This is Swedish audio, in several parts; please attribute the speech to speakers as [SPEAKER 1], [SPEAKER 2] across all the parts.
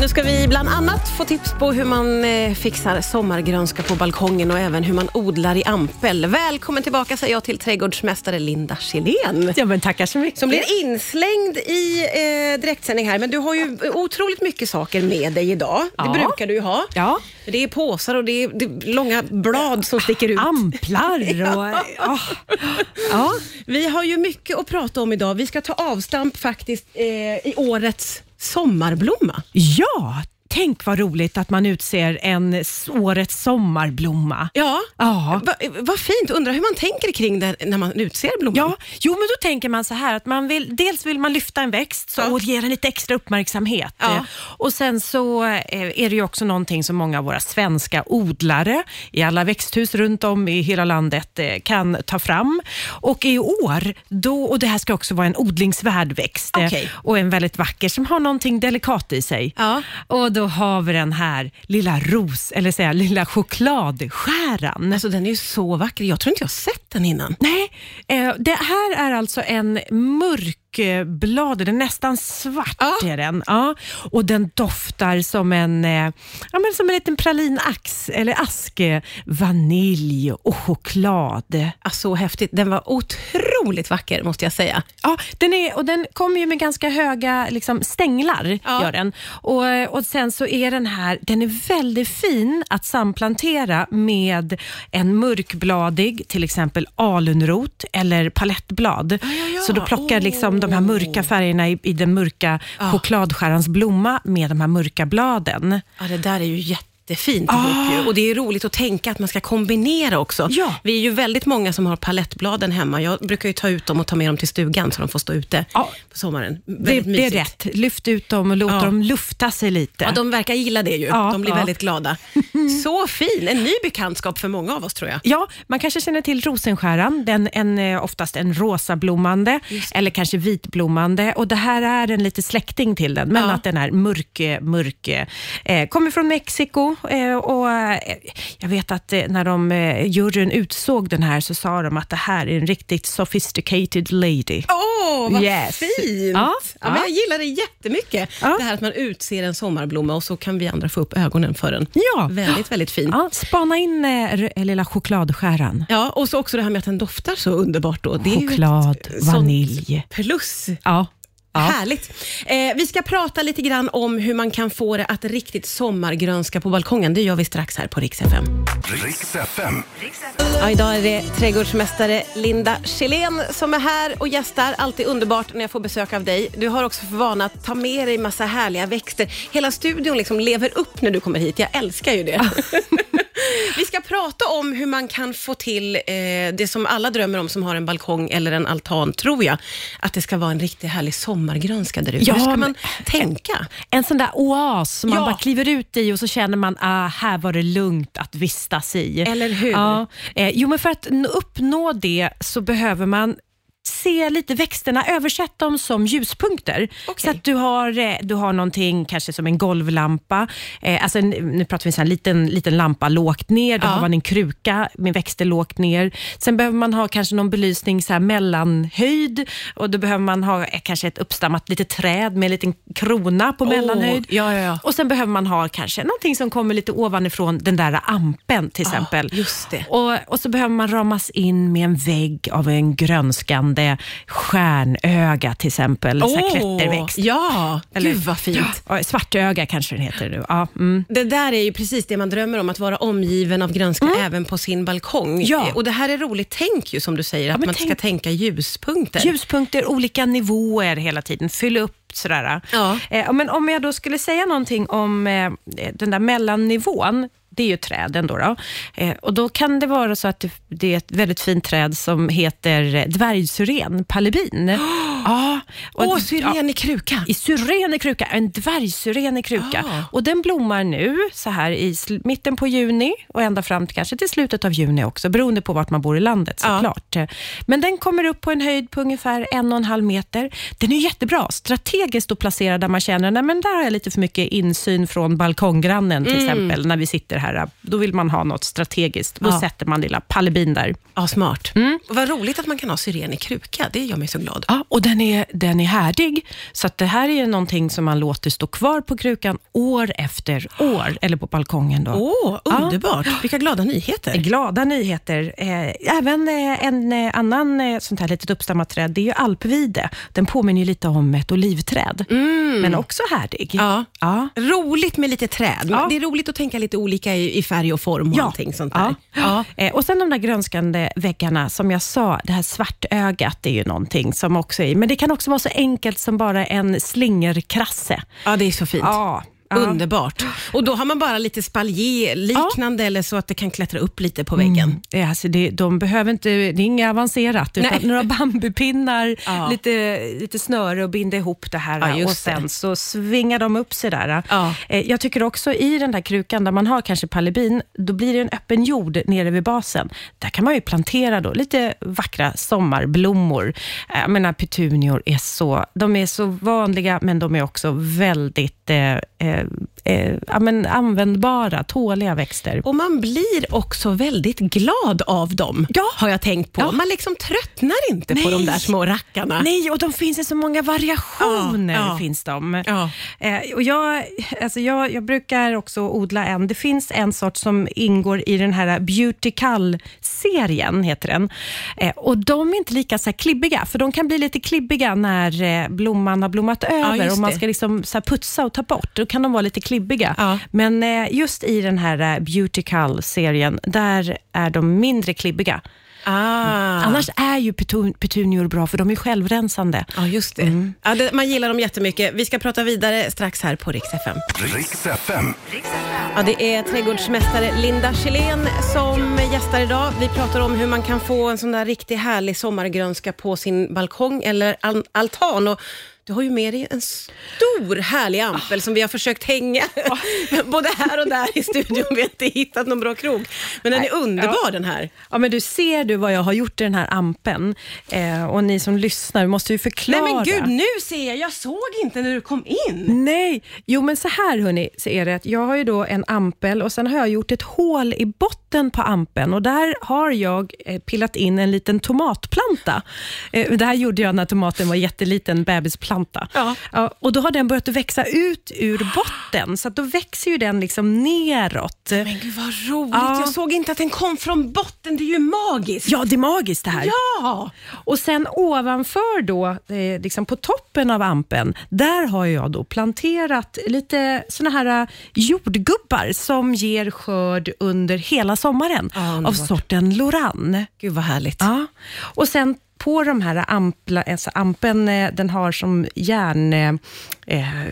[SPEAKER 1] Nu ska vi bland annat få tips på hur man eh, fixar sommargrönska på balkongen och även hur man odlar i ampel. Välkommen tillbaka säger jag till trädgårdsmästare Linda Källén.
[SPEAKER 2] Ja, men tackar så mycket.
[SPEAKER 1] Som blir inslängd i eh, direktsändning här, men du har ju otroligt mycket saker med dig idag.
[SPEAKER 2] Ja.
[SPEAKER 1] Det brukar du ju ha.
[SPEAKER 2] Ja.
[SPEAKER 1] Det är påsar och det är, det är långa blad som sticker ut.
[SPEAKER 2] Amplar och... ja. ja.
[SPEAKER 1] Vi har ju mycket att prata om idag. Vi ska ta avstamp faktiskt eh, i årets sommarblomma.
[SPEAKER 2] ja, tänk vad roligt att man utser en s- årets sommarblomma.
[SPEAKER 1] Ja,
[SPEAKER 2] Ja.
[SPEAKER 1] Va- vad fint. Undrar hur man tänker kring det när man utser blomman.
[SPEAKER 2] Ja, jo men då tänker man så här att man vill, dels vill man lyfta en växt så,
[SPEAKER 1] Ja.
[SPEAKER 2] och ge den lite extra uppmärksamhet.
[SPEAKER 1] Ja.
[SPEAKER 2] Eh, Och sen så eh, är det ju också någonting som många av våra svenska odlare i alla växthus runt om i hela landet eh, kan ta fram. Och i år, då, och det här ska också vara en odlingsvärd växt eh,
[SPEAKER 1] Okej.
[SPEAKER 2] och en väldigt vacker som har någonting delikat i sig.
[SPEAKER 1] Ja.
[SPEAKER 2] Och då har vi den här lilla ros, eller säga lilla chokladskäran.
[SPEAKER 1] Alltså den är ju så vacker. Jag tror inte jag har sett den innan.
[SPEAKER 2] Nej, eh, det här är alltså en mörkblad, den är nästan svart.
[SPEAKER 1] Ja.
[SPEAKER 2] Är den. Ja. Och den doftar som en, eh, ja, men som en liten pralinax eller ask, eh, vanilj och choklad.
[SPEAKER 1] Alltså, så häftigt. Den var otroligt vacker måste jag säga.
[SPEAKER 2] Ja, den, är, och den kommer ju med ganska höga liksom, stänglar.
[SPEAKER 1] Ja.
[SPEAKER 2] Gör den. Och, och Sen så är den här den är väldigt fin att samplantera med en mörkbladig, till exempel alunrot eller palettblad. Så du plockar liksom de här mörka färgerna i, i den mörka chokladskärans blomma med de här mörka bladen.
[SPEAKER 1] Ja, det där är ju jättefint ihop ju. Och det är ju roligt att tänka att man ska kombinera också.
[SPEAKER 2] Ja.
[SPEAKER 1] Vi är ju väldigt många som har palettbladen hemma. Jag brukar ju ta ut dem och ta med dem till stugan så de får stå ute
[SPEAKER 2] Ja.
[SPEAKER 1] på sommaren.
[SPEAKER 2] Det,
[SPEAKER 1] Väldigt
[SPEAKER 2] det är
[SPEAKER 1] mysigt.
[SPEAKER 2] rätt. Lyft ut dem och låt
[SPEAKER 1] Ja.
[SPEAKER 2] dem lufta sig lite.
[SPEAKER 1] Ja, de verkar gilla det ju.
[SPEAKER 2] Ja,
[SPEAKER 1] de blir
[SPEAKER 2] ja.
[SPEAKER 1] väldigt glada. Så fin! En ny bekantskap för många av oss tror jag.
[SPEAKER 2] Ja, man kanske känner till rosenskäran, den en, eh, oftast en rosablommande eller kanske vitblommande och det här är en lite släkting till den, men
[SPEAKER 1] Ja.
[SPEAKER 2] att den är mörk, eh, mörk, eh, kommer från Mexiko eh, och eh, jag vet att eh, när de, eh, juryn utsåg den här så sa de att det här är en riktigt sophisticated lady.
[SPEAKER 1] Åh, vad
[SPEAKER 2] Yes.
[SPEAKER 1] fint! Ja,
[SPEAKER 2] Ja,
[SPEAKER 1] Men
[SPEAKER 2] ja.
[SPEAKER 1] jag gillar det jättemycket.
[SPEAKER 2] Ja.
[SPEAKER 1] Det här att man utser en sommarblomma och så kan vi andra få upp ögonen för den.
[SPEAKER 2] Ja.
[SPEAKER 1] Väldigt, väldigt fin. Ja.
[SPEAKER 2] Ja, spana in eh, r- lilla chokladskäran.
[SPEAKER 1] och så också det här med att den doftar så underbart. Då. Det är ju
[SPEAKER 2] Choklad,
[SPEAKER 1] ett, eh, sånt
[SPEAKER 2] vanilj.
[SPEAKER 1] Plus.
[SPEAKER 2] Ja. Ja.
[SPEAKER 1] Härligt. Eh, vi ska prata lite grann om hur man kan få det att riktigt sommargrönska på balkongen. Det gör vi strax här på Rix FM.
[SPEAKER 3] Riks FM.
[SPEAKER 1] Ja, idag är det trädgårdsmästare Linda Källén som är här och gästar. Alltid underbart när jag får besök av dig. Du har också för vana att ta med dig massa härliga växter. Hela studion liksom lever upp när du kommer hit. Jag älskar ju det. Vi ska prata om hur man kan få till eh, det som alla drömmer om som har en balkong eller en altan, tror jag. Att det ska vara en riktigt härlig sommargrönska där ute.
[SPEAKER 2] Ja,
[SPEAKER 1] Hur ska man
[SPEAKER 2] men-
[SPEAKER 1] tänka?
[SPEAKER 2] En sån där oas som man
[SPEAKER 1] Ja.
[SPEAKER 2] bara kliver ut i och så känner man ah, här var det lugnt att vistas i.
[SPEAKER 1] Eller hur?
[SPEAKER 2] Ja. Eh, jo, men för att n- uppnå det så behöver man se lite växterna, översätt dem som ljuspunkter.
[SPEAKER 1] Okej.
[SPEAKER 2] Så att du har, eh, du har någonting, kanske som en golvlampa, eh, alltså en, nu pratar vi så här, en liten, liten lampa lågt ner, då
[SPEAKER 1] Ja.
[SPEAKER 2] har man en kruka med växter lågt ner. Sen behöver man ha kanske någon belysning så här mellanhöjd och då behöver man ha eh, kanske ett uppstammat litet träd med en liten krona på mellanhöjd.
[SPEAKER 1] ja, ja, ja.
[SPEAKER 2] Och sen behöver man ha kanske någonting som kommer lite ovanifrån den där ampen till exempel.
[SPEAKER 1] Ah, just det.
[SPEAKER 2] Och, och så behöver man ramas in med en vägg av en grönskande stjärnöga till exempel, så här klätterväxt.
[SPEAKER 1] Ja,
[SPEAKER 2] Eller-
[SPEAKER 1] gud vad fint.
[SPEAKER 2] Ja, Svartöga kanske den heter nu. Ja, mm.
[SPEAKER 1] Det där är ju precis det man drömmer om, att vara omgiven av grönskan även på sin balkong.
[SPEAKER 2] Mm. Ja.
[SPEAKER 1] Eh, Och det här är roligt tänk ju som du säger, att
[SPEAKER 2] men
[SPEAKER 1] man ska
[SPEAKER 2] tänk-
[SPEAKER 1] tänka ljuspunkter.
[SPEAKER 2] Ljuspunkter, olika nivåer hela tiden, fyll upp sådär.
[SPEAKER 1] Ja.
[SPEAKER 2] Eh, men om jag då skulle säga någonting om eh, den där mellannivån, det är ju träden då. då. Eh, och då kan det vara så att det, det är ett väldigt fint träd som heter eh, dvärgsyren, palebin. ja, och-
[SPEAKER 1] Åh,
[SPEAKER 2] ja.
[SPEAKER 1] syren i kruka.
[SPEAKER 2] I syren i kruka, en dvärgsyren i kruka.
[SPEAKER 1] Ah.
[SPEAKER 2] Och den blommar nu så här i sl- mitten på juni och ända fram till kanske till slutet av juni också, beroende på vart man bor i landet
[SPEAKER 1] Ja.
[SPEAKER 2] såklart. Men den kommer upp på en höjd på ungefär en och en halv meter. Den är jättebra,
[SPEAKER 1] Mm.
[SPEAKER 2] strategiskt att placera där man känner, nej men där har jag lite för mycket insyn från balkonggrannen till exempel, när vi sitter här, då vill man ha något strategiskt. Då
[SPEAKER 1] Ja.
[SPEAKER 2] sätter man lilla Palebin där.
[SPEAKER 1] Ja, smart.
[SPEAKER 2] Mm.
[SPEAKER 1] Vad roligt att man kan ha syren i kruka. Det gör mig så glad.
[SPEAKER 2] Ja, och den är, den är härdig. Så att det här är ju någonting som man låter stå kvar på krukan år efter år, eller på balkongen. Då.
[SPEAKER 1] Åh, underbart. Vilka glada nyheter.
[SPEAKER 2] Glada nyheter. Eh, även eh, en eh, annan eh, sånt här litet uppstammat träd, det är ju alpvide. Den påminner ju lite om ett olivträd, men också härdig.
[SPEAKER 1] Ja.
[SPEAKER 2] Mm. Ja.
[SPEAKER 1] Roligt med lite träd. Men
[SPEAKER 2] Ja.
[SPEAKER 1] Det är roligt att tänka lite olika i, i färg och form och allting sånt där.
[SPEAKER 2] Ja. Eh, Och sen de där grönskande väggarna, som jag sa, det här svartögat är ju någonting som också är Men det kan också vara så enkelt som bara en slingerkrasse.
[SPEAKER 1] Ja, det är så fint.
[SPEAKER 2] Ja. ja.
[SPEAKER 1] Underbart. Och då har man bara lite spaljé-liknande eller så att det kan klättra upp lite på väggen.
[SPEAKER 2] Eh, Alltså det, de behöver inte, det är inget avancerat, utan
[SPEAKER 1] Nej.
[SPEAKER 2] några bambupinnar,
[SPEAKER 1] Ja.
[SPEAKER 2] lite, lite snöre och binda ihop det här
[SPEAKER 1] Ja, just
[SPEAKER 2] och
[SPEAKER 1] det.
[SPEAKER 2] sen så svingar de upp sig där.
[SPEAKER 1] Ja.
[SPEAKER 2] Eh, Jag tycker också i den där krukan där man har kanske palebin, då blir det en öppen jord nere vid basen. Där kan man ju plantera då lite vackra sommarblommor. Eh, Jag menar petunior är så, de är så vanliga, men de är också väldigt eh, eh, eh, ja, men användbara, tåliga växter.
[SPEAKER 1] Och man blir också väldigt glad av dem, ja. har jag tänkt på. Man liksom tröttnar inte på
[SPEAKER 2] Nej.
[SPEAKER 1] de där små rackarna.
[SPEAKER 2] Nej, och de finns i så många variationer.
[SPEAKER 1] Ja, ja.
[SPEAKER 2] finns de.
[SPEAKER 1] Ja.
[SPEAKER 2] Eh, och jag, alltså jag, jag brukar också odla en. Det finns en sort som ingår i den här Beauty Cull-serien, heter den. Eh, och de är inte lika så här klibbiga, för de kan bli lite klibbiga när eh, blomman har blommat över
[SPEAKER 1] just
[SPEAKER 2] och man
[SPEAKER 1] det.
[SPEAKER 2] ska liksom så här putsa och ta bort. Då kan de vara lite klibbiga.
[SPEAKER 1] Ja.
[SPEAKER 2] Men eh, just i den här eh, Beauty Cull-serien, där är de mindre klibbiga.
[SPEAKER 1] Ah.
[SPEAKER 2] Annars är ju petun- petunior bra, för de är självrensande.
[SPEAKER 1] Ja, just det. Mm. Ja, det. Man gillar dem jättemycket. Vi ska prata vidare strax här på Rix FM.
[SPEAKER 3] Riks FM.
[SPEAKER 1] Ja, det är trädgårdsmästare Linda Källén som gästar idag. Vi pratar om hur man kan få en sån där riktigt härlig sommargrönska på sin balkong eller al- altan. Och du har ju med dig en stor härlig ampel som vi har försökt hänga både här och där i studion. Vi har inte hittat någon bra krog. Men den är underbar den här.
[SPEAKER 2] Ja, men du ser du vad jag har gjort i den här ampen. Eh, och ni som lyssnar måste ju förklara.
[SPEAKER 1] nu ser jag. Jag såg inte när du kom in.
[SPEAKER 2] Nej, jo men så här hörni, så är det att jag har ju då en ampel och sen har jag gjort ett hål i botten på ampen och där har jag eh, pillat in en liten tomatplanta. Eh, Det här gjorde jag när tomaten var jätteliten, bebisplanta.
[SPEAKER 1] Ja.
[SPEAKER 2] och då har den börjat växa ut ur botten, så att då växer ju den liksom neråt.
[SPEAKER 1] Men gud vad roligt.
[SPEAKER 2] Ja.
[SPEAKER 1] Jag såg inte att den kom från botten. Det är ju magiskt.
[SPEAKER 2] Ja, det är magiskt det här.
[SPEAKER 1] ja.
[SPEAKER 2] Och sen ovanför då, eh, liksom på toppen av ampen, där har jag då planterat lite såna här eh, jordgubbar som ger skörd under hela sommaren
[SPEAKER 1] Ja, underbart.
[SPEAKER 2] av sorten Loran.
[SPEAKER 1] Gud vad härligt.
[SPEAKER 2] Ja. Och sen på de här ampla, alltså ampen, eh, den har som järn... Eh, eh,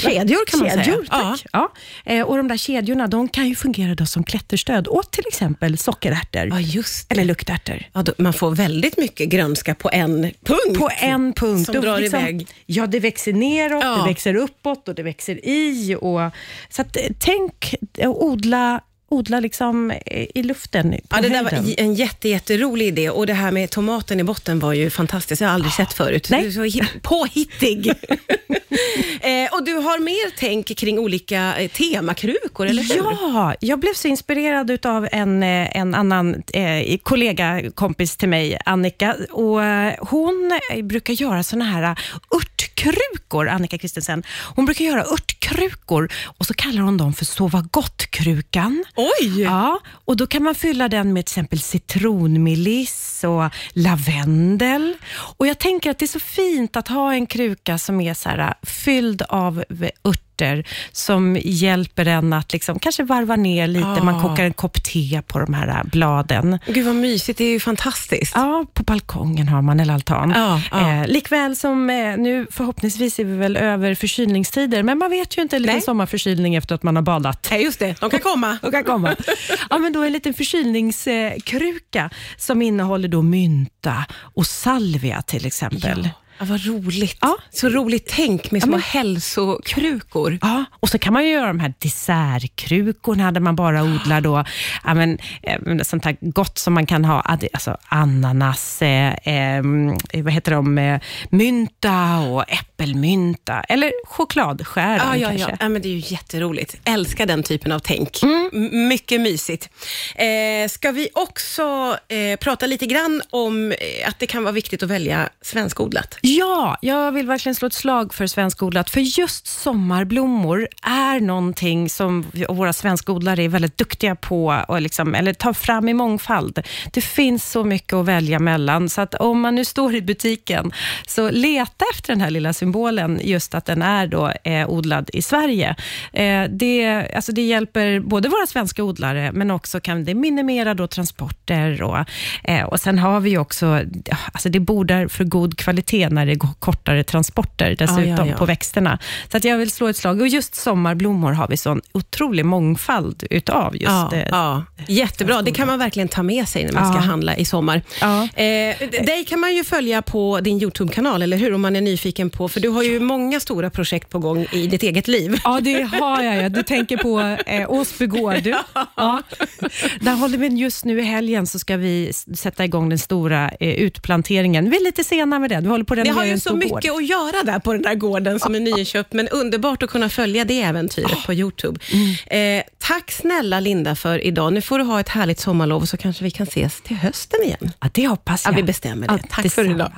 [SPEAKER 1] Kedjor kan man säga.
[SPEAKER 2] Kedjor,
[SPEAKER 1] Ja.
[SPEAKER 2] tack. Ja. Eh, och de där kedjorna, de kan ju fungera då som klätterstöd åt till exempel sockerärtor.
[SPEAKER 1] Ja, just det.
[SPEAKER 2] Eller luktärtor.
[SPEAKER 1] Ja, då, man får väldigt mycket grönska på en punkt.
[SPEAKER 2] På en punkt.
[SPEAKER 1] Som
[SPEAKER 2] Och
[SPEAKER 1] drar iväg.
[SPEAKER 2] Ja, det växer neråt,
[SPEAKER 1] Ja.
[SPEAKER 2] det växer uppåt och det växer i. Och, så att, eh, tänk eh, odla, odla liksom eh, i luften, på
[SPEAKER 1] Ja, det där var
[SPEAKER 2] höjden.
[SPEAKER 1] j- en jätte, jätterolig idé och det här med tomaten i botten var ju fantastiskt. Jag har aldrig sett förut.
[SPEAKER 2] Nej.
[SPEAKER 1] Du är så hi- påhittig. eh, och du har mer tänk kring olika eh, temakrukor, eller hur?
[SPEAKER 2] Ja, jag blev så inspirerad av en, eh, en annan eh, kollega, kompis till mig, Annika. Och eh, hon eh, brukar göra såna här eh, örtkrukor, Annika Kristensen. Hon brukar göra örtkrukor och så kallar hon dem för sova gott-krukan.
[SPEAKER 1] Oj!
[SPEAKER 2] Ja, och då kan man fylla den med till exempel citronmeliss och lavendel. Och jag tänker att det är så fint att ha en kruka som är så här, äh, fylld av v- örter som hjälper en att liksom, kanske varva ner lite.
[SPEAKER 1] Ja.
[SPEAKER 2] Man kokar en kopp te på de här äh, bladen.
[SPEAKER 1] Gud vad mysigt, det är ju fantastiskt.
[SPEAKER 2] Ja, på balkongen har man eller altan.
[SPEAKER 1] Ja, ja.
[SPEAKER 2] Eh, likväl som eh, nu, förhoppningsvis är vi väl över förkylningstider, men man vet ju inte en liten
[SPEAKER 1] Nej.
[SPEAKER 2] sommarförkylning efter att man har badat.
[SPEAKER 1] Nej, just det. De kan komma.
[SPEAKER 2] De kan komma. Ja, men då en liten förkylningskruka som innehåller då mynta och salvia till exempel.
[SPEAKER 1] Ja, vad roligt.
[SPEAKER 2] Ja.
[SPEAKER 1] Så roligt tänk med små hälsokrukor.
[SPEAKER 2] Ja, och så kan man ju göra de här dessertkrukorna där man bara odlar då, ja, men, eh, sånt här gott som man kan ha, ad- alltså ananas, eh, eh, vad heter de, eh, mynta och äppelmynta, eller chokladskäror
[SPEAKER 1] Ja, ja, ja.
[SPEAKER 2] kanske. Mm.
[SPEAKER 1] ja men det är ju jätteroligt. Älskar den typen av tänk. M- mycket mysigt. Eh, ska vi också eh, prata lite grann om eh, att det kan vara viktigt att välja svenskodlat?
[SPEAKER 2] Ja, jag vill verkligen slå ett slag för svenskodlat, för just sommarblommor är någonting som vi- och våra svenskodlare är väldigt duktiga på, och liksom, eller tar fram i mångfald. Det finns så mycket att välja mellan, så att om man nu står i butiken, så leta efter den här lilla symbolen, just att den är då, eh, odlad i Sverige. Eh, det, alltså det hjälper både våra svenska odlare, men också kan det minimera då transporter. Och, eh, och sen har vi ju också, alltså det bordar för god kvalitet när det går kortare transporter dessutom
[SPEAKER 1] Ja, ja, ja.
[SPEAKER 2] på växterna. Så att jag vill slå ett slag. Och just sommarblommor har vi sån otrolig mångfald utav. just
[SPEAKER 1] Ja,
[SPEAKER 2] eh,
[SPEAKER 1] ja. Jättebra, det kan man verkligen ta med sig när man ska
[SPEAKER 2] Ja.
[SPEAKER 1] handla i sommar.
[SPEAKER 2] Ja.
[SPEAKER 1] Eh, d- dig kan man ju följa på din YouTube-kanal, eller hur? Om man är nyfiken på, för du har ju många stora projekt på gång i ditt eget liv.
[SPEAKER 2] Ja, det har jag. Ja. Du tänker på eh, Åsbygård. Ja. Där håller vi just nu i helgen, så ska vi s- sätta igång den stora eh, utplanteringen. Vi är lite sena med det. Vi håller på att
[SPEAKER 1] Ni har
[SPEAKER 2] renovera
[SPEAKER 1] ju
[SPEAKER 2] en
[SPEAKER 1] så
[SPEAKER 2] stor
[SPEAKER 1] mycket
[SPEAKER 2] gård.
[SPEAKER 1] att göra där på den där gården som är nyinköpt, men underbart att kunna följa det äventyret på YouTube.
[SPEAKER 2] Mm.
[SPEAKER 1] Eh, tack snälla Linda för idag. Nu får du ha ett härligt sommarlov, så kanske vi kan ses till hösten igen.
[SPEAKER 2] Ja, det hoppas
[SPEAKER 1] Ja,
[SPEAKER 2] jag.
[SPEAKER 1] vi bestämmer det. Tack för
[SPEAKER 2] detsamma.
[SPEAKER 1] idag.